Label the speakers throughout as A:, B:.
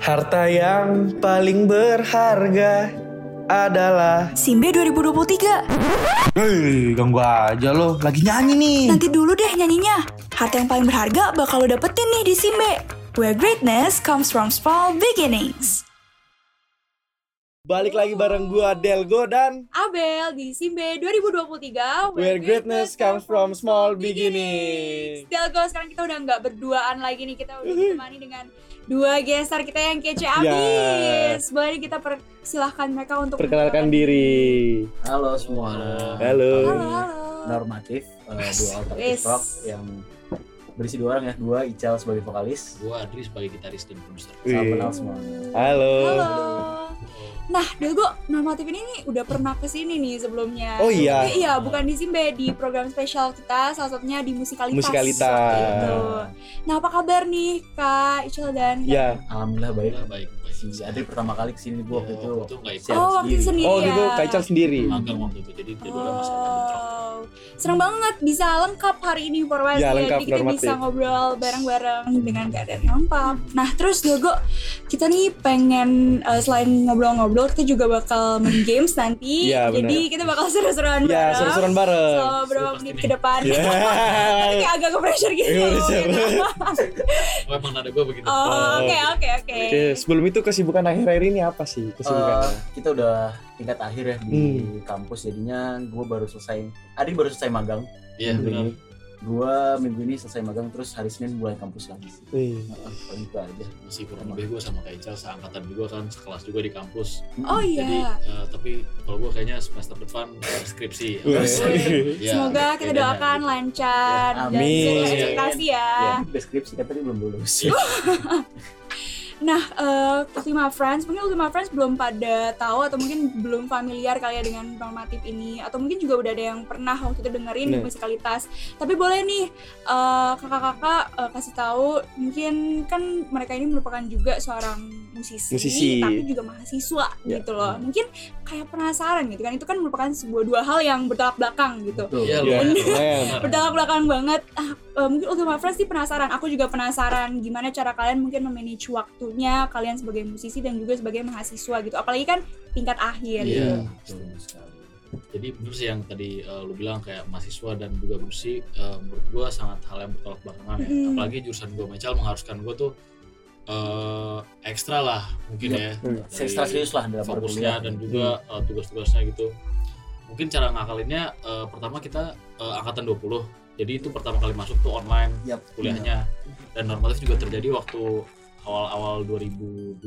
A: Harta yang paling berharga adalah
B: Simbe 2023.
C: Hei, ganggu aja lo. Lagi nyanyi nih.
B: Nanti dulu deh nyanyinya. Harta yang paling berharga bakal lo dapetin nih di Simbe. Where greatness comes from small beginnings.
A: Balik lagi bareng gua Delgo dan
D: Abel di Simbe 2023
A: Where greatness comes from small beginnings
D: Delgo sekarang kita udah nggak berduaan lagi nih kita udah ditemani dengan dua gestar kita yang
A: Iya.
D: kece abis boleh kita persilahkan mereka untuk
A: Perkenalkan diri
E: Halo semua.
A: Halo
D: halo halo
E: Normatif eh, dua
D: Wes.
E: alternatif rock yang berisi dua orang ya, dua Ical sebagai vokalis,
F: Gue Adri sebagai gitaris dan produser.
E: salam
A: Wih.
E: kenal semua.
A: Halo
D: halo nah Delgo normatif ini nih udah pernah kesini nih sebelumnya
A: Oh iya.
D: Tapi iya bukan di Simbe di program spesial kita salah satunya di musikalitas
A: Musikalitas.
D: Gitu. nah apa kabar nih Kak Ical dan Kak
A: Ya
E: Alhamdulillah baik.
F: Alhamdulillah baik. baik.
E: Si Adri pertama kali kesini Iya, gua waktu itu.
F: Itu nggak ikut.
E: Siap.
D: Oh waktu itu sendiri
A: Oh
D: ya
A: gitu Kaical sendiri
F: Magang waktu itu. Jadi jadwalnya masih ada bentrok.
D: Wow. Seneng banget bisa lengkap hari ini informasi
A: Ya, lengkap,
D: Jadi kita
A: normatif.
D: bisa ngobrol bareng-bareng dengan keadaan yang lengkap Nah terus Dogo, kita nih pengen eh, selain ngobrol-ngobrol kita juga bakal main games nanti
A: Ya, benar.
D: Jadi kita bakal seru-seruan
A: Ya
D: bareng
A: seru-seruan bareng
D: Selama berapa
F: Seru pasti
D: menit
F: nih.
D: ke depan
A: Ya.
D: Tapi kayak agak ke pressure gitu
A: Iya, pressure.
D: gitu.
F: Oh, emang nada gue begitu.
D: Oh, Oke oke oke
A: Oke, sebelum itu kesibukan akhir-akhir ini apa sih ya?
E: Eh,
A: kesibukan?
E: kita udah tingkat akhir ya di kampus jadinya gua baru selesai Adri baru selesai magang
F: Iya
E: minggu
F: benar.
E: ini. Gua minggu ini selesai magang terus hari Senin mulai kampus lagi.
C: Eh.
A: Wih.
E: Heeh, paling itu aja.
F: Masih kurang lebih gue sama Kak Ical seangkatan gue kan sekelas juga di kampus.
E: Hmm.
D: Oh
F: Jadi
D: iya
F: eh, tapi kalau gue kayaknya semester depan eh, skripsi.
E: Iya.
A: Wih.
F: Ya,
D: Semoga kita
F: bedanya
D: doakan
F: gitu.
D: lancar
E: Ya,
D: dan
A: amin.
D: sesuai ekspektasi ya.
E: Ya, deskripsi katanya belum lulus.
D: Nah, eh Ultima Friends, mungkin Ultima Friends belum pada tahu atau mungkin belum familiar kali ya dengan normatif ini atau mungkin juga udah ada yang pernah waktu itu dengerin di
A: Nah.
D: musikalitas. Tapi boleh nih eh, kakak-kakak eh, kasih tahu mungkin kan mereka ini merupakan juga seorang musisi,
A: Musisi.
D: tapi juga mahasiswa
A: Ya.
D: gitu loh. Mungkin kayak penasaran gitu kan itu kan merupakan sebuah dua hal yang bertolak belakang gitu.
E: Betul.
A: Ya,
F: Iya lumayan.
A: lumayan.
D: bertolak belakang banget. Ah, eh, mungkin Ultima Friends sih penasaran. Aku juga penasaran gimana cara kalian mungkin memanage waktunya kalian sebagai musisi dan juga sebagai mahasiswa gitu. Apalagi kan tingkat akhir.
F: Iya.
D: gitu.
E: Betul sekali.
F: Jadi bener sih yang tadi eh, lu bilang kayak mahasiswa dan juga musik eh, menurut gua sangat hal yang bertolak belakangan ya.
D: Mm.
F: Apalagi jurusan gua Mecal mengharuskan gua tuh eh, ekstra lah mungkin
E: Yap.
F: ya.
A: Hmm.
F: Dari
E: Ekstra serius lah dalam perkuliahan.
F: fokusnya dan juga eh, tugas-tugasnya gitu. Mungkin cara ngakalinnya eh, pertama kita eh, angkatan 20. Jadi itu pertama kali masuk tuh online
E: Yap.
F: kuliahnya dan normatif juga terjadi waktu awal-awal 2021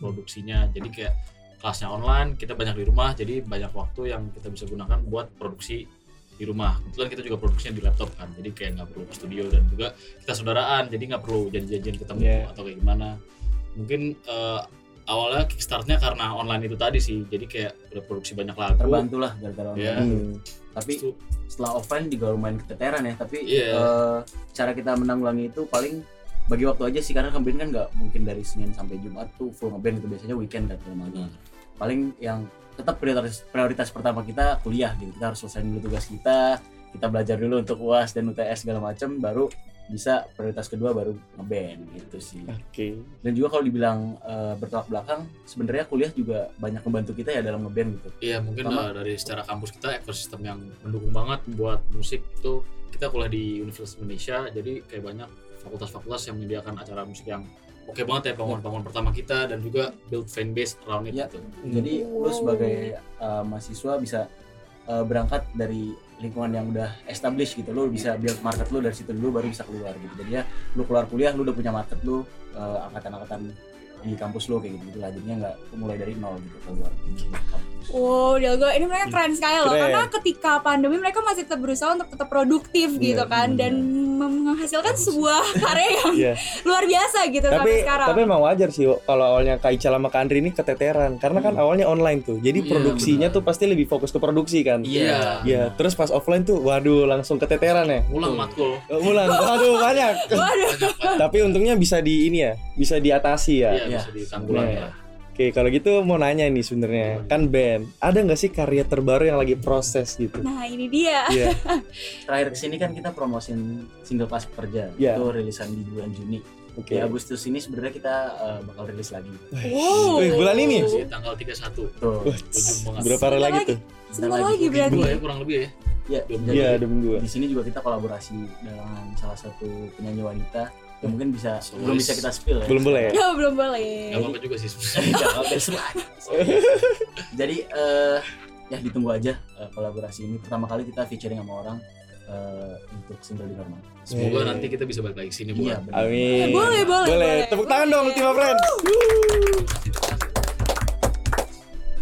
F: produksinya jadi kayak kelasnya online kita banyak di rumah jadi banyak waktu yang kita bisa gunakan buat produksi di rumah kebetulan kita juga produksinya di laptop kan jadi kayak nggak perlu ke studio dan juga kita saudaraan jadi nggak perlu janji-janjian ketemu
A: Yeah.
F: atau kayak gimana mungkin eh, awalnya kickstartnya karena online itu tadi sih jadi kayak udah produksi banyak lagu
E: terbantulah gara-gara online.
F: Iya.
A: Hmm.
E: tapi
F: Terus tuh,
E: setelah offline juga lumayan keteteran ya tapi
F: Iya.
E: eh, cara kita menanggulangi itu paling bagi waktu aja sih karena ngeband kan nggak mungkin dari Senin sampai Jumat tuh full ngeband itu biasanya weekend kan kalau malam.
F: Hmm.
E: paling yang tetap prioritas prioritas pertama kita kuliah gitu kita harus selesai dulu tugas kita kita belajar dulu untuk UAS dan UTS segala macam baru bisa prioritas kedua baru ngeband gitu sih
F: Eh.
A: Oke.
E: dan juga kalau dibilang eh, bertolak belakang sebenarnya kuliah juga banyak membantu kita ya dalam ngeband gitu
F: Iya mungkin
E: Pertama-
F: uh, dari secara kampus kita ekosistem yang mendukung banget buat musik itu kita kuliah di Universitas Indonesia jadi kayak banyak fakultas-fakultas yang menyediakan acara musik yang oke banget ya
E: Iya.
F: bangun-bangun pertama kita dan juga build fanbase around it
E: Ya.
F: gitu.
E: Jadi lu sebagai uh, mahasiswa bisa uh, berangkat dari lingkungan yang udah established gitu. Lu bisa build market lu dari situ dulu baru bisa keluar gitu. Jadi ya lu keluar kuliah lu udah punya market lu uh, angkatan-angkatan di kampus lu kayak gitu lah. Jadinya nggak mulai dari nol gitu keluar.
D: Wow, Delgo, ini mereka keren sekali loh.
A: Hmm. Keren.
D: Karena ketika pandemi mereka masih tetap berusaha untuk tetap produktif gitu
E: Iya,
D: kan dan mem- menghasilkan sebuah karya yang
A: Iya.
D: luar biasa gitu sampai
A: tapi
D: sekarang.
A: tapi emang wajar sih Wo, kalau awalnya Kaical sama Kandri ini keteteran karena kan awalnya online tuh jadi
F: Hmm. Iya,
A: produksinya
F: benar.
A: tuh pasti lebih fokus ke produksi kan
F: Iya.
A: ya terus pas offline tuh waduh langsung keteteran ya
F: Ulang matkul.
A: Eh, ulang waduh banyak
D: Waduh.
F: Banyak banget.
A: tapi untungnya bisa di ini ya bisa diatasi ya
F: Iya
E: Iya.
F: bisa ditanggulangi lah.
A: Oke, kalau gitu mau nanya nih sebenarnya,
F: Iya.
A: kan band, ada nggak sih karya terbaru yang lagi proses gitu?
D: Nah ini dia.
A: Iya.
E: Terakhir kesini kan kita promosin single pas kerja
A: Iya.
E: itu rilisan di bulan Juni.
A: Oke.
E: Di
F: Iya,
E: Agustus ini sebenarnya kita eh, bakal rilis lagi.
D: Wow.
A: Wih, bulan ini?
F: Jadi tanggal 31
E: Tuh.
A: Wah,
F: Ujung banget.
A: Berapa hari
D: Sebentar
A: lagi
D: lagi.
A: tuh?
D: Sebentar
E: Sebentar
D: lagi
E: lagi.
D: berarti.
F: Dua ya kurang lebih ya.
E: Iya.
F: Dua minggu.
A: Iya, ada minggu.
E: Di sini juga kita kolaborasi dengan salah satu penyanyi wanita yang mungkin bisa
F: Solois.
E: belum bisa kita spill ya.
A: Belum boleh ya?
D: Ya belum boleh.
F: Gak apa-apa juga sih sebenarnya.
E: Nggak apa-apa, semua. Jadi eh ya ditunggu aja eh, kolaborasi ini. Pertama kali kita featuring sama orang eh, untuk single di normal.
F: Semoga
A: Iya.
F: nanti kita bisa balik lagi ke sini buat.
E: Iya. benar.
A: Amin.
D: Eh, boleh, boleh, boleh. Iya.
A: Tepuk tangan dong,
D: Boleh.
A: Ultima Friend.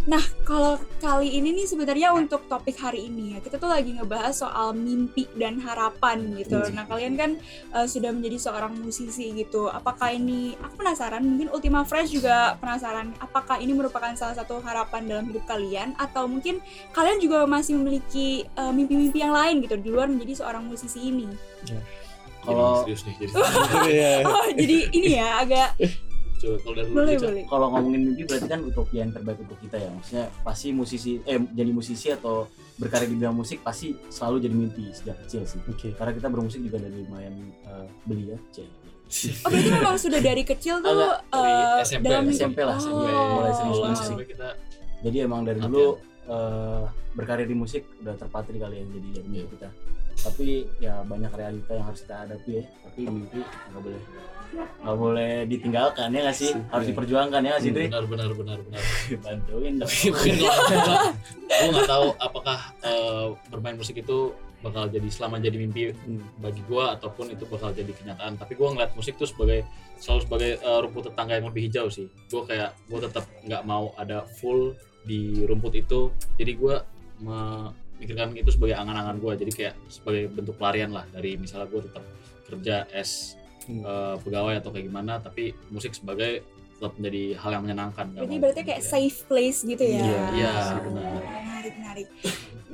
D: Nah, kalau kali ini nih sebenarnya untuk topik hari ini ya, kita tuh lagi ngebahas soal mimpi dan harapan gitu.
E: Hmm.
D: Nah, kalian kan eh, sudah menjadi seorang musisi gitu. Apakah ini aku penasaran, mungkin Ultima Fresh juga penasaran apakah ini merupakan salah satu harapan dalam hidup kalian atau mungkin kalian juga masih memiliki eh, mimpi-mimpi yang lain gitu di luar menjadi seorang musisi ini.
E: Kalau-
F: Jadi serius nih. Jadi
A: Iya.
D: Oh, jadi ini ya agak
F: coba kalau dari dulu
D: boleh,
F: aja.
D: boleh.
E: Kalau ngomongin mimpi berarti kan utopia yang terbaik untuk kita ya. Maksudnya pasti musisi eh jadi musisi atau berkarya di bidang musik pasti selalu jadi mimpi sejak kecil sih.
A: Oke.
E: Karena kita bermusik juga dari lumayan eh, belia, Cek.
D: Oh, berarti memang sudah dari kecil tuh
E: Agak
F: dari
D: eh,
F: SMP,
D: dalam
E: SMP lah,
D: Oh,
E: SMP, mulai serius
F: Kalau
D: wow.
E: musik.
F: sampai kita
E: Jadi emang dari dulu eh, berkarya di musik udah terpatri kali yang jadi dari mimpi kita. Tapi ya banyak realita yang harus kita hadapi ya. Tapi mimpi nggak boleh nggak boleh ditinggalkan ya nggak sih? Harus
A: Iya.
E: diperjuangkan ya nggak sih, Dri?
F: benar benar benar benar.
E: Bantuin dong.
F: Mungkin kalau aku gua- gua nggak tahu apakah eh, bermain musik itu bakal jadi selama jadi mimpi
A: Hmm.
F: bagi gua ataupun itu bakal jadi kenyataan tapi gua ngeliat musik tuh sebagai selalu sebagai eh, rumput tetangga yang lebih hijau sih gua kayak gua tetap nggak mau ada full di rumput itu jadi gua memikirkan itu sebagai angan-angan gua jadi kayak sebagai bentuk pelarian lah dari misalnya gua tetap kerja as
A: Hmm.
F: eh, pegawai atau kayak gimana tapi musik sebagai tetap menjadi hal yang menyenangkan nggak
D: Berarti
F: mau
D: berarti kayak
A: Iya.
F: gitu ya.
D: safe place gitu ya.
E: Iya,
F: iya, benar.
D: Menarik, menarik.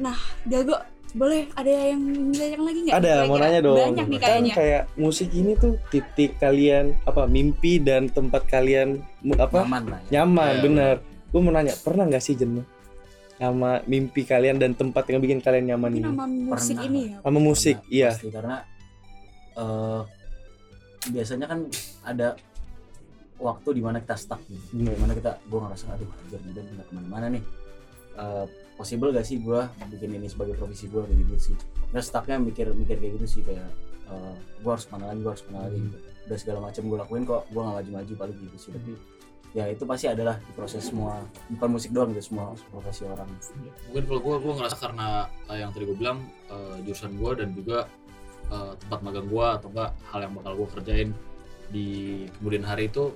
D: Nah, Dago, boleh ada yang ditanyakan lagi nggak?
A: Ada, mau
D: Kira-kira
A: nanya dong.
D: Iya, Banyak nih
A: kan
D: kayaknya.
A: kayak musik ini tuh titik kalian apa mimpi dan tempat kalian mu- apa
E: Aman lah. Ya.
A: nyaman
F: Iya,
A: bener. Gue mau nanya, pernah nggak sih jenuh sama mimpi kalian dan tempat yang bikin kalian nyaman
D: Mungkin
A: ini?
D: nama musik
E: Pernah.
D: ini ya.
A: Sama musik,
E: Karena-
A: iya.
E: Pasti karena eh, biasanya kan ada waktu di mana kita stuck gitu.
A: Bener.
E: Dimana kita gue ngerasa aduh anjir gue nggak kemana-mana nih. Eh, possible gak sih gue bikin ini sebagai profesi gue kayak gitu sih. Nah stucknya mikir-mikir kayak gitu sih kayak gue harus kemana lagi, gue harus kemana lagi
A: Hmm.
E: gitu. Udah segala macam gue lakuin kok gue gak maju-maju paling gitu sih. Tapi ya itu pasti adalah di proses semua bukan musik doang gitu semua profesi orang.
F: mungkin kalau gue gue ngerasa karena eh, yang tadi gue bilang eh, jurusan gue dan juga eh, tempat magang gue atau enggak hal yang bakal gue kerjain di kemudian hari itu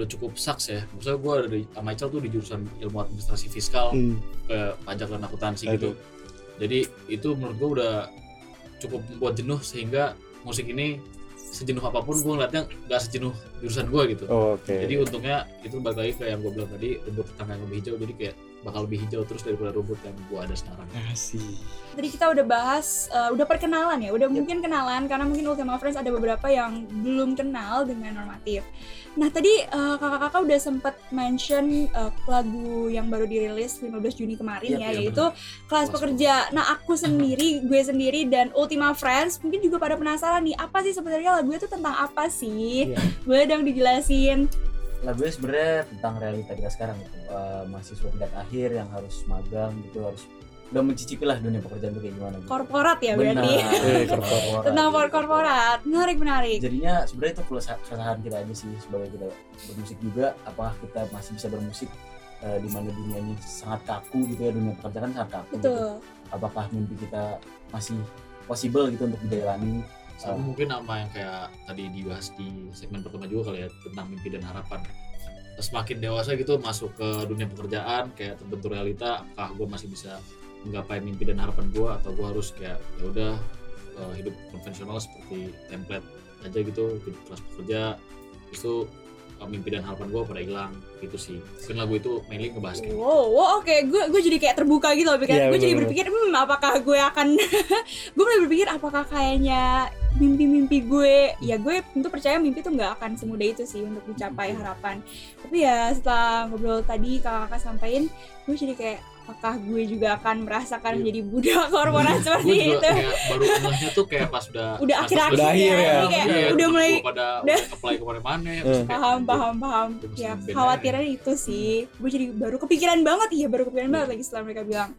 F: udah cukup saks ya maksudnya gue dari sama Ical tuh di jurusan ilmu administrasi fiskal
A: Hmm.
F: eh, pajak dan akuntansi gitu jadi itu menurut gue udah cukup membuat jenuh sehingga musik ini sejenuh apapun gue ngeliatnya nggak sejenuh jurusan gue gitu
A: Oke.
F: jadi untungnya itu balik lagi ke yang gue bilang tadi rumput tetangga yang lebih hijau jadi kayak bakal lebih hijau terus daripada rumput yang gue ada sekarang
A: Ya. Kasih.
D: Tadi kita udah bahas, eh, udah perkenalan ya, udah mungkin kenalan karena mungkin Ultima Friends ada beberapa yang belum kenal dengan normatif. Nah tadi eh, kakak-kakak udah sempat mention eh, lagu yang baru dirilis 15 Juni kemarin
E: Iya,
D: ya,
E: iya,
D: yaitu kelas
F: Kelas
D: pekerja. Nah aku sendiri, gue sendiri dan Ultima Friends mungkin juga pada penasaran nih apa sih sebenarnya lagu itu tentang apa sih?
A: Iya.
D: Boleh dong dijelasin.
E: lagunya sebenarnya tentang realita kita sekarang gitu Eh, mahasiswa tingkat akhir yang harus magang gitu harus udah mencicipi lah dunia pekerjaan itu kayak gimana gitu.
D: Korporat ya
E: Benar.
D: berarti.
A: Eh,
E: korporat.
D: Tentang korporat. Menarik menarik.
E: jadinya sebenarnya itu keles- keresahan kita aja sih sebagai kita bermusik juga apakah kita masih bisa bermusik eh, di mana dunianya sangat kaku gitu ya dunia pekerjaan sangat kaku gitu.
D: Betul.
E: apakah mimpi kita masih possible gitu untuk dijalani Ah.
F: sama mungkin sama yang kayak tadi dibahas di segmen pertama juga kali ya tentang mimpi dan harapan semakin dewasa gitu masuk ke dunia pekerjaan kayak terbentur realita apakah gue masih bisa menggapai mimpi dan harapan gue atau gue harus kayak ya udah eh, hidup konvensional seperti template aja gitu hidup kelas pekerja Terus itu eh, mimpi dan harapan gue pada hilang gitu sih mungkin lagu itu mainly ngebahas kayak
D: Wow, wow, oke, gue gue jadi kayak terbuka gitu loh pikiran.
A: Iya,
D: gue jadi
A: bener-bener.
D: berpikir, hmm, apakah gue akan, gue mulai berpikir apakah kayaknya mimpi-mimpi gue ya gue tentu percaya mimpi tuh nggak akan semudah itu sih untuk mencapai
A: Iya.
D: harapan tapi ya setelah ngobrol tadi kakak-kakak sampaikan gue jadi kayak apakah gue juga akan merasakan
F: Iya.
D: menjadi budak korporat seperti
F: gue juga
D: itu
F: kayak baru ngehnya tuh kayak pas udah
D: Udah
F: pas
D: akhir-akhir
A: Udah akhir ya.
D: Jadi kayak
F: Iya,
D: udah
F: temen
D: mulai-
F: gua pada
D: udah. Iya.
F: apply kemana-mana ya,
A: Eh.
F: terus kayak,
D: paham paham paham
F: Terus
D: ya
F: band aja.
D: khawatiran itu sih
A: Hmm.
D: gue jadi baru kepikiran banget iya baru kepikiran banget lagi setelah mereka bilang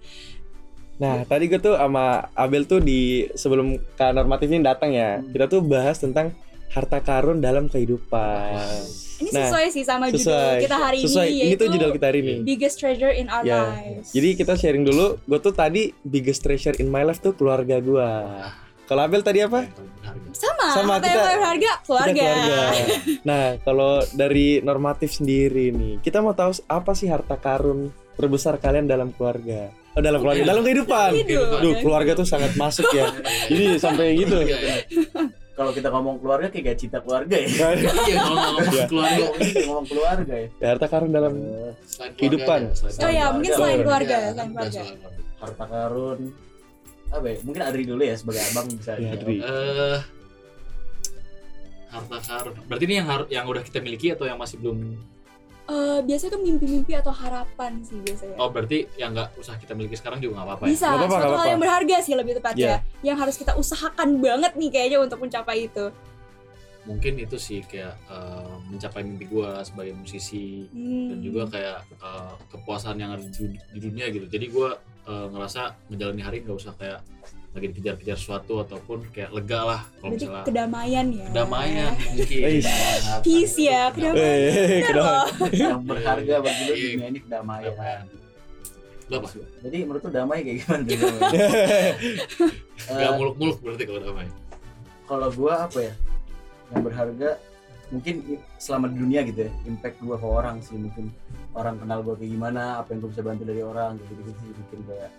A: Nah, tadi gue tuh sama Abel tuh di sebelum ke normatif ini datang ya,
D: Hmm.
A: kita tuh bahas tentang harta karun dalam kehidupan.
D: ini
A: Nah,
D: sesuai sih sama judul
A: sesuai.
D: kita hari
A: Sesuai,
D: ini
A: ini
D: yaitu
A: tuh judul kita hari ini.
D: biggest treasure in our
A: Ya,
D: lives
A: Jadi kita sharing dulu, gue tuh tadi biggest treasure in my life tuh keluarga gue. Kalau Abel tadi apa?
F: yang paling berharga.
D: sama,
A: Sama,
D: apa yang
A: kita-
D: paling berharga keluarga,
A: Kita keluarga. Nah, kalau dari normatif sendiri nih, kita mau tahu apa sih harta karun terbesar kalian dalam keluarga? Oh, dalam keluarga, dalam kehidupan.
D: Hidup.
A: Duh, keluarga tuh sangat masuk ya. Jadi sampai gitu.
F: Iya, iya.
E: Kalau kita ngomong keluarga kayak gak cinta keluarga ya.
F: Iya, kalau nggak ngomong
A: Iya.
F: keluarga
E: Kita ngomong keluarga ya.
A: Ya, harta karun dalam
E: Eh,
F: selain keluarga
A: Kehidupan.
F: ya, selain
D: oh ya
E: Keluarga.
D: mungkin selain keluarga
F: Iya,
D: selain
F: bukan
D: keluarga
F: selain keluarga.
E: harta karun apa ya? Mungkin Adri dulu ya sebagai abang bisa.
A: Ya,
E: jawab.
A: Adri.
F: Eh, harta karun. Berarti ini yang har- yang udah kita miliki atau yang masih belum?
D: Eh, biasanya tuh mimpi-mimpi atau harapan sih biasanya
F: Oh, berarti yang nggak usah kita miliki sekarang juga nggak apa-apa ya?
D: bisa
A: Nggak apa-apa,
D: suatu
A: nggak
D: hal
A: apa-apa. Iya.
D: yang berharga sih lebih tepatnya yang harus kita usahakan banget nih kayaknya untuk mencapai itu
F: Mungkin itu sih kayak eh, mencapai mimpi gua sebagai musisi
D: Hmm.
F: dan juga kayak eh, kepuasan yang ada di, du- di dunia gitu. Jadi gua eh, ngerasa menjalani hari nggak usah kayak lagi dikejar-kejar sesuatu ataupun kayak lega lah kalau
D: berarti
F: misalnya
D: kedamaian ya
F: kedamaian mungkin.
A: Eish.
E: Nah,
D: peace ya
F: Kedamaian.
D: kedamaian
A: Eh,
D: Bener
A: kenapa?
D: loh.
E: Yang berharga bagi lu di
F: Iya.
E: dunia ini kedamaian.
F: Lah,
A: Eh.
F: Pak.
E: Jadi menurut lu damai kayak gimana?
F: Nggak
E: Eh,
F: muluk-muluk berarti kalau damai.
E: kalau gua apa ya yang berharga mungkin i- selama di dunia gitu ya impact gua ke orang sih mungkin orang kenal gua kayak gimana apa yang gua bisa bantu dari orang gitu gitu sih mungkin kayak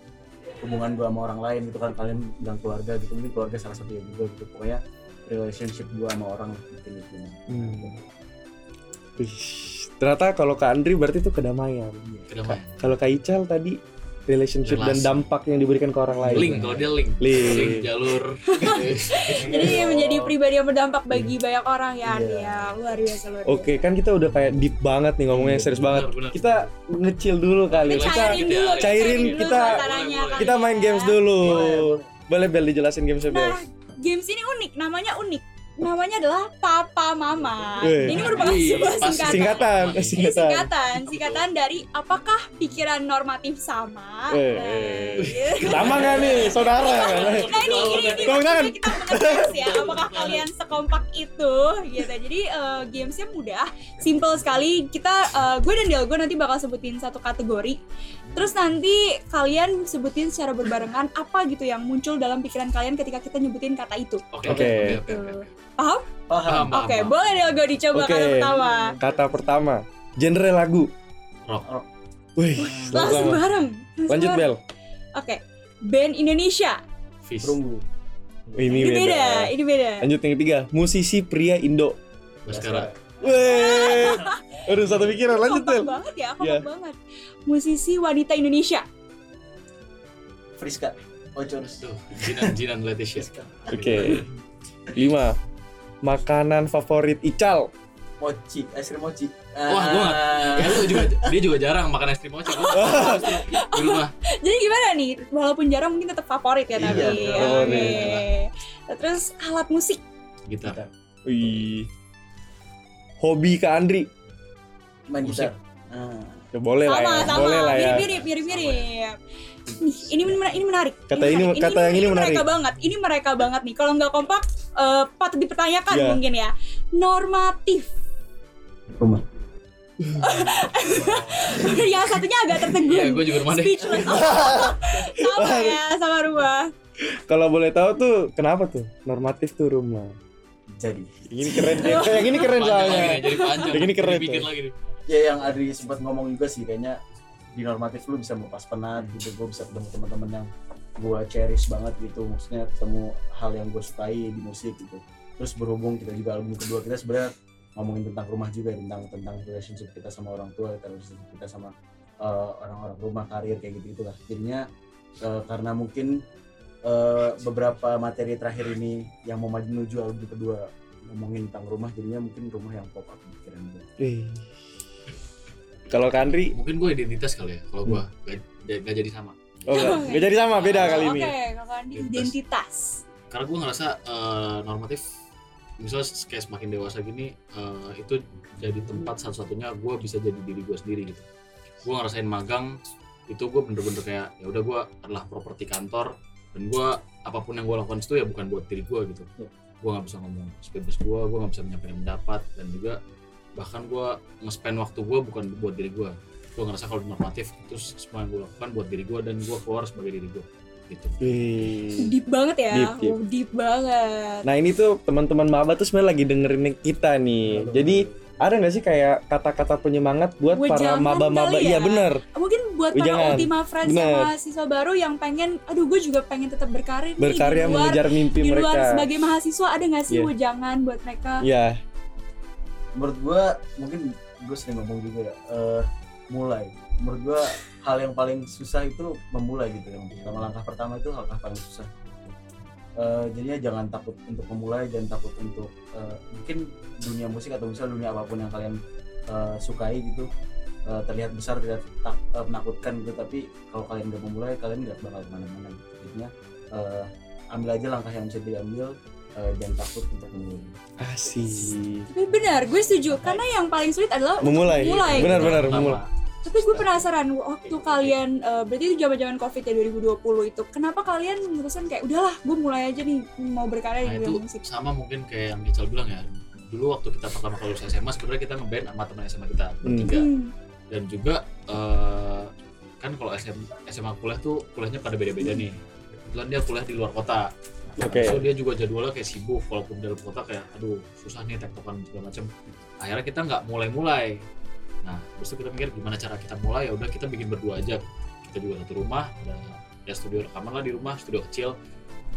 E: hubungan gua sama orang lain gitu kan kalian bilang keluarga gitu mungkin keluarga salah satu ya juga gitu pokoknya relationship gua sama orang mungkin gitu
A: Hmm. Wih, ternyata kalau Kak Andri berarti itu kedamaian.
F: Kedamaian.
A: Ka- Kalau Kak Ical tadi relationship dan
F: Relasi.
A: dampak yang diberikan ke orang lain.
F: Link kalau dia link.
A: Link.
F: jalur.
D: jadi menjadi
F: Iya.
D: pribadi yang berdampak bagi banyak orang ya
E: Iya.
D: Arya luar biasa luar biasa
A: Oke, kan kita udah kayak deep banget nih ngomongnya serius banget.
F: Iya, Benar, benar.
A: Kita ngecil dulu kali.
D: Kita
A: Kita
D: cairin dulu,
A: cairin, kita-
D: masalahnya kali
A: kita main
D: ya.
A: games dulu.
E: Boleh.
A: Boleh Bel dijelasin gamesnya Bel.
D: Nah, games ini unik, namanya unik. Namanya adalah Papa Mama.
A: Wih.
D: Ini merupakan
F: Wih,
D: sebuah
F: Iya, pas-
D: singkatan.
A: Singkatan,
F: Ini
D: Ini
A: singkatan.
D: singkatan, singkatan dari apakah pikiran normatif sama?
A: Eh,
D: Nah,
A: eh.
D: iya.
A: Sama nggak nih, saudara?
D: Nah ini ini ini
A: Tepuk tangan.
D: maksudnya kita mengetes ya apakah kalian sekompak itu gitu. Jadi eh, gamesnya mudah, simple sekali. Kita eh, gue dan Del gue nanti bakal sebutin satu kategori. Terus nanti kalian sebutin secara berbarengan apa gitu yang muncul dalam pikiran kalian ketika kita nyebutin kata itu.
F: Oke,
A: Oke.
F: oke, oke, oke. oke.
E: paham
F: Paham, paham,
D: Oke,
F: paham.
D: boleh Del gue dicoba
A: Oke.
D: kata pertama.
A: Kata pertama, genre lagu.
F: Rock.
A: Wih, sama.
D: Langsung bareng. Langsung
A: Lanjut
D: bareng.
A: Bel.
D: Oke. Band Indonesia.
F: Fish.
E: perunggu
A: Ini
D: Ini
A: beda.
D: beda, ini beda.
A: Lanjut yang ketiga, musisi pria Indo.
F: Baskara.
A: Wih, udah satu pikiran lanjut
D: Kompak
A: Bel.
D: banget ya, kompak
A: Iya.
D: banget. Musisi wanita Indonesia.
E: Friska Ocurs
F: Tuh, ya. Jinan, Jinan Leticia.
E: Friska
A: Oke. Lima. Makanan favorit Ical.
E: mochi es krim mochi Ah,
F: Wah, gua nggak- Ya lu juga, dia juga jarang makan es krim oce. Gua makan es krim Di rumah.
D: Jadi gimana nih? Walaupun jarang mungkin tetap favorit ya
E: Iya,
D: tapi.
E: iya,
D: Oke.
F: favorit.
D: Terus alat musik.
F: Gitar.
A: Wih. Hobi Kak Andri.
E: main
F: Musik.
E: gitar Ah,
A: Ya, boleh lah ya,
D: sama, sama.
A: boleh lah ya.
D: Mirip-mirip, mirip-mirip. Nih, ini men- ini menarik.
A: Kata ini-
D: menarik.
A: kata yang ini
D: mereka
A: menarik.
D: banget. Ini mereka banget nih. Kalau nggak kompak eh, patut dipertanyakan
A: Iya.
D: mungkin ya. Normatif.
E: rumah
D: yang satunya agak tertegun.
F: Iya, gua juga rumah deh.
D: Speechless. sama ya, sama rumah.
A: Kalau boleh tahu tuh kenapa tuh normatif tuh rumah.
E: jadi
A: Ini keren. ya. Kayak yang ini keren
F: Panjang
A: soalnya.
F: lagi nih, jadi panjang.
A: Jadi ini keren
F: Jadi bikin
A: tuh.
F: lagi nih.
E: ya yang Adri sempat ngomong juga sih kayaknya di normatif lu bisa melepas penat gitu gue bisa ketemu teman-teman yang gue cherish banget gitu maksudnya ketemu hal yang gue sukai di musik gitu terus berhubung kita juga album kedua kita sebenarnya ngomongin tentang rumah juga tentang tentang relationship kita sama orang tua kita relationship kita sama eh, orang-orang rumah karir kayak gitu gitulah jadinya eh, karena mungkin eh, beberapa materi terakhir ini yang mau maju menuju album kedua ngomongin tentang rumah jadinya mungkin rumah yang pop up di pikiran gue.
A: Wih. Kalau Kandri,
F: mungkin gue identitas kali ya kalau gue gak, gak jadi sama
A: oh enggak. Nggak jadi sama, beda kali ini.
D: Oke, kalau Andi identitas.
F: karena gue ngerasa eh, normatif misalnya kayak semakin dewasa gini eh, itu jadi tempat satu-satunya gue bisa jadi diri gue sendiri gitu gue ngerasain magang itu gue bener-bener kayak ya udah gue adalah properti kantor dan gue apapun yang gue lakukan itu ya bukan buat diri gue gitu
E: Iya.
F: gue nggak bisa ngomong sebebas gue gue nggak bisa menyampaikan pendapat dan juga bahkan gue nge-spend waktu gue bukan buat diri gue gue ngerasa kalau normatif itu semua yang gue lakukan buat diri gue dan gue keluar sebagai diri gue gitu
A: Wih.
D: Deep banget ya.
A: Deep, deep.
D: Oh, deep banget.
A: Nah ini tuh teman-teman Maba tuh sebenarnya lagi dengerin kita nih. Jadi ada nggak sih kayak kata-kata penyemangat buat
D: Wah,
A: para
D: jangan
A: maba-maba?
D: kali
A: Iya
D: ya.
A: bener.
D: Mungkin buat
A: Wih,
D: para
A: jangan.
D: Ultima Friends
A: Bener.
D: sama siswa baru yang pengen, aduh gue juga pengen tetap berkarir nih
A: Berkarya
D: di luar,
A: mengejar mimpi
D: di luar
A: mereka.
D: sebagai mahasiswa ada nggak sih
A: Iya.
D: wejangan buat mereka?
A: Ya,
E: Menurut gue mungkin gue sering ngomong juga ya eh, mulai. Menurut gue hal yang paling susah itu memulai gitu yang pertama langkah pertama itu langkah paling susah. Eh, jadinya jangan takut untuk memulai dan takut untuk eh, mungkin dunia musik atau misalnya dunia apapun yang kalian eh, sukai gitu eh, terlihat besar terlihat tak- eh, menakutkan gitu tapi kalau kalian udah memulai kalian nggak bakal kemana-mana gitu. jadinya eh, ambil aja langkah yang bisa diambil eh, jangan takut untuk memulai
A: asih.
D: Tapi benar, gue setuju. Karena yang paling sulit adalah
A: Memulai.
D: Mulai.
A: Benar-benar
F: Pertama,
A: memulai.
D: tapi gue
A: Iya.
D: penasaran waktu kalian eh, berarti itu zaman-zaman Covid ya 2020 itu. Kenapa kalian memutuskan kayak udahlah, gue mulai aja nih mau berkarya
F: Nah
D: di
F: itu
D: dunia musik.
F: sama mungkin kayak yang Ical bilang ya dulu waktu kita pertama kali lulus SMA sebenarnya kita ngeband sama teman SMA kita bertiga
D: Hmm,
F: dan juga eh, kan kalau SM SMA kuliah tuh kuliahnya pada beda-beda nih kebetulan dia kuliah di luar kota Nah,
A: Oke.
F: so dia juga jadwalnya kayak sibuk walaupun dalam kota kayak aduh susah nih tektokan segala macam akhirnya kita nggak mulai-mulai nah terus kita mikir gimana cara kita mulai ya udah kita bikin berdua aja kita juga satu rumah ada ada studio rekaman lah di rumah studio kecil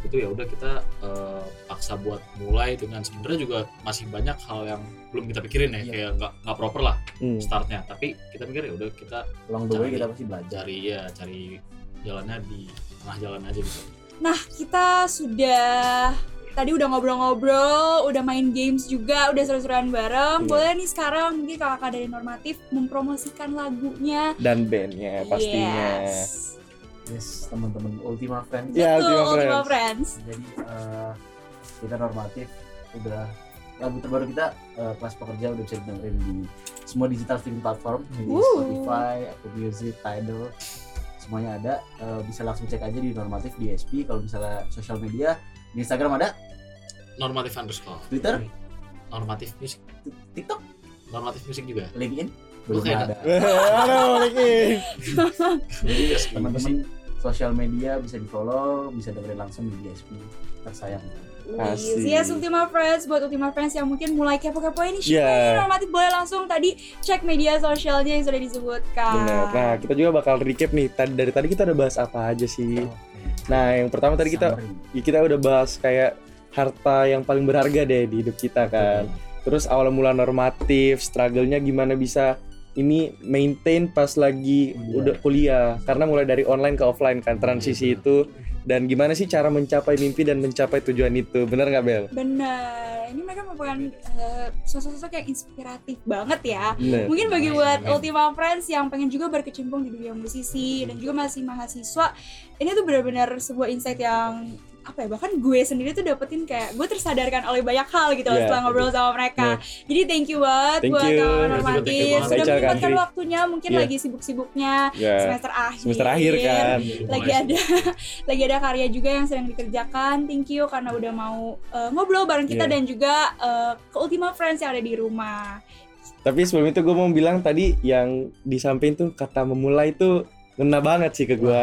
F: itu ya udah kita eh, paksa buat mulai dengan sebenarnya juga masih banyak hal yang belum kita pikirin ya
E: Iya.
F: kayak nggak nggak proper lah
A: Hmm.
F: startnya tapi kita mikir ya udah kita
E: along the way
F: Cari.
E: kita pasti belajar
F: cari ya cari jalannya di tengah jalan aja gitu
D: Nah, kita sudah tadi udah ngobrol-ngobrol, udah main games juga, udah seru-seruan
A: Iya.
D: bareng. Boleh nih sekarang mungkin kakak dari normatif mempromosikan lagunya.
A: Dan bandnya Ya, pastinya.
D: Yes.
E: yes teman-teman Ultima Friends
A: Ya,
D: Betul,
A: Ultima
D: Ultima
A: Friends.
D: Friends.
E: jadi eh, kita normatif udah lagu terbaru kita eh, kelas pekerja udah bisa dengerin di semua digital streaming platform di
D: Wuh.
E: Spotify, Apple Music, Tidal semuanya ada Eh, bisa langsung cek aja di normatif di SP kalau misalnya sosial media di Instagram ada
F: normatif underscore
E: Twitter?
F: normatif music
E: TikTok
F: normatif music juga
E: LinkedIn belum
F: Oke,
E: ada Iya,
A: Aduh, Ricky.
F: jadi
E: iya. teman-teman sosial media bisa di follow bisa dengerin langsung di SP tersayang
A: Asik.
D: Wih, Yes, Ultima Friends buat Ultima Friends yang mungkin mulai kepo-kepo ini
A: Iya.
D: yeah. normatif boleh langsung tadi cek media sosialnya yang sudah disebutkan.
A: Bener. Nah, kita juga bakal recap nih. Tadi dari tadi kita udah bahas apa aja sih? Nah, yang pertama tadi kita
E: Summary.
A: kita udah bahas kayak harta yang paling berharga deh di hidup kita kan. Terus awal mula normatif, struggle-nya gimana bisa ini maintain pas lagi
E: Kuliah.
A: udah kuliah karena mulai dari online ke offline kan transisi
F: Iya,
A: itu dan gimana sih cara mencapai mimpi dan mencapai tujuan itu bener nggak Bel?
D: Bener. Ini mereka merupakan eh, sosok-sosok yang inspiratif banget ya.
A: Bener.
D: Mungkin bagi
A: iya.
F: Amin,
D: buat
F: amin.
D: Ultima Friends yang pengen juga berkecimpung di dunia musisi
A: Hmm.
D: dan juga masih mahasiswa, ini tuh benar-benar sebuah insight yang apa ya bahkan gue sendiri tuh dapetin kayak gue tersadarkan oleh banyak hal gitu loh
A: Iya,
D: setelah ngobrol sama mereka. Jadi thank you banget
A: Thank
D: buat
A: you.
D: kawan
F: Thank you, thank you
D: normatif
F: banget.
D: sudah
A: Ical
D: menyempatkan
A: Kandri.
D: waktunya mungkin
A: Iya.
D: lagi sibuk-sibuknya
A: Ya,
D: semester akhir.
A: semester akhir kan.
D: Lagi ada
F: Iya,
D: lagi ada karya juga yang sedang dikerjakan. Thank you karena udah mau eh, ngobrol bareng kita
A: Iya.
D: dan juga eh, ke Ultima Friends yang ada di rumah.
A: Tapi sebelum itu gue mau bilang tadi yang di samping tuh kata memulai tuh ngena banget sih ke gue.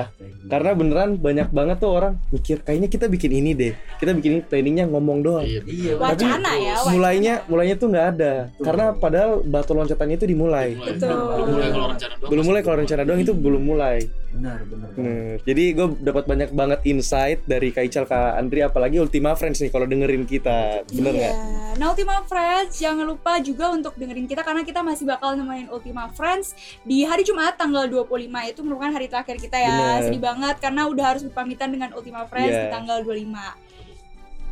A: Karena beneran banyak banget tuh orang mikir kayaknya kita bikin ini deh. Kita bikin ini planningnya ngomong doang.
F: iya
E: Iya,
F: benar.
A: tapi
D: Wacana ya, wacana.
A: mulainya mulainya tuh nggak ada
E: Betul.
A: karena padahal batu loncatannya itu dimulai
F: Mulai.
D: Betul.
F: Belum mulai kalau rencana doang
A: belum
F: pasti
A: mulai kalau rencana doang itu belum mulai
E: benar benar benar.
A: Bener. jadi gue dapat banyak banget insight dari Kak Ical Kak Andri apalagi Ultima Friends nih kalau dengerin kita bener
D: iya.
A: nggak
D: Nah Ultima Friends jangan lupa juga untuk dengerin kita karena kita masih bakal nemenin Ultima Friends di hari Jumat tanggal 25 itu merupakan merupakan hari terakhir kita ya.
A: Bener.
D: Sedih banget karena udah harus berpamitan dengan Ultima Friends
A: Iya.
D: di tanggal 25.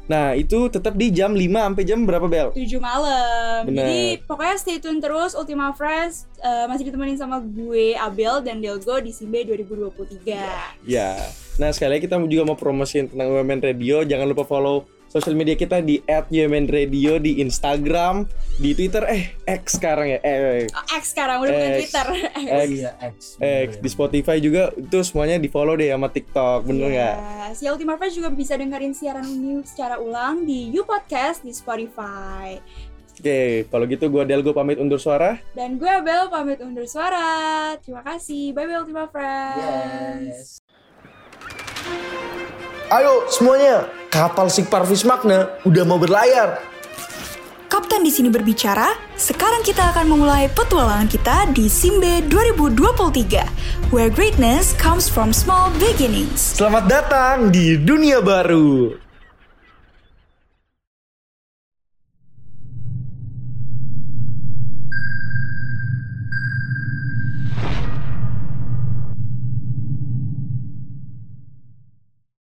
A: Nah, itu tetap di jam 5 sampai jam berapa, Bel?
D: 7 malam.
A: Bener.
D: Jadi pokoknya stay tune terus Ultima Friends eh, masih ditemenin sama gue Abel dan Delgo di Simbe 2023.
A: Ya. Nah, sekali lagi kita juga mau promosiin tentang UMN Radio. Jangan lupa follow sosial media kita di @UMNRadio di Instagram, di Twitter eh X sekarang ya. Eh, eh,
D: Oh, X sekarang udah bukan
A: X.
D: Twitter.
A: X,
E: Iya, X.
A: X di Spotify juga itu semuanya di follow deh sama TikTok, bener nggak?
D: Yes. Ya Ultima Friends juga bisa dengerin siaran new secara ulang di You Podcast di Spotify.
A: Oke, kalau gitu gua Delgo pamit undur suara.
D: Dan gue Abel pamit undur suara. Terima kasih. Bye bye Ultima Friends.
E: Yes.
G: Ayo semuanya, kapal Sig Parvis Magna udah mau berlayar.
B: Kapten di sini berbicara, sekarang kita akan memulai petualangan kita di Simbe 2023, where greatness comes from small beginnings.
G: Selamat datang di dunia baru.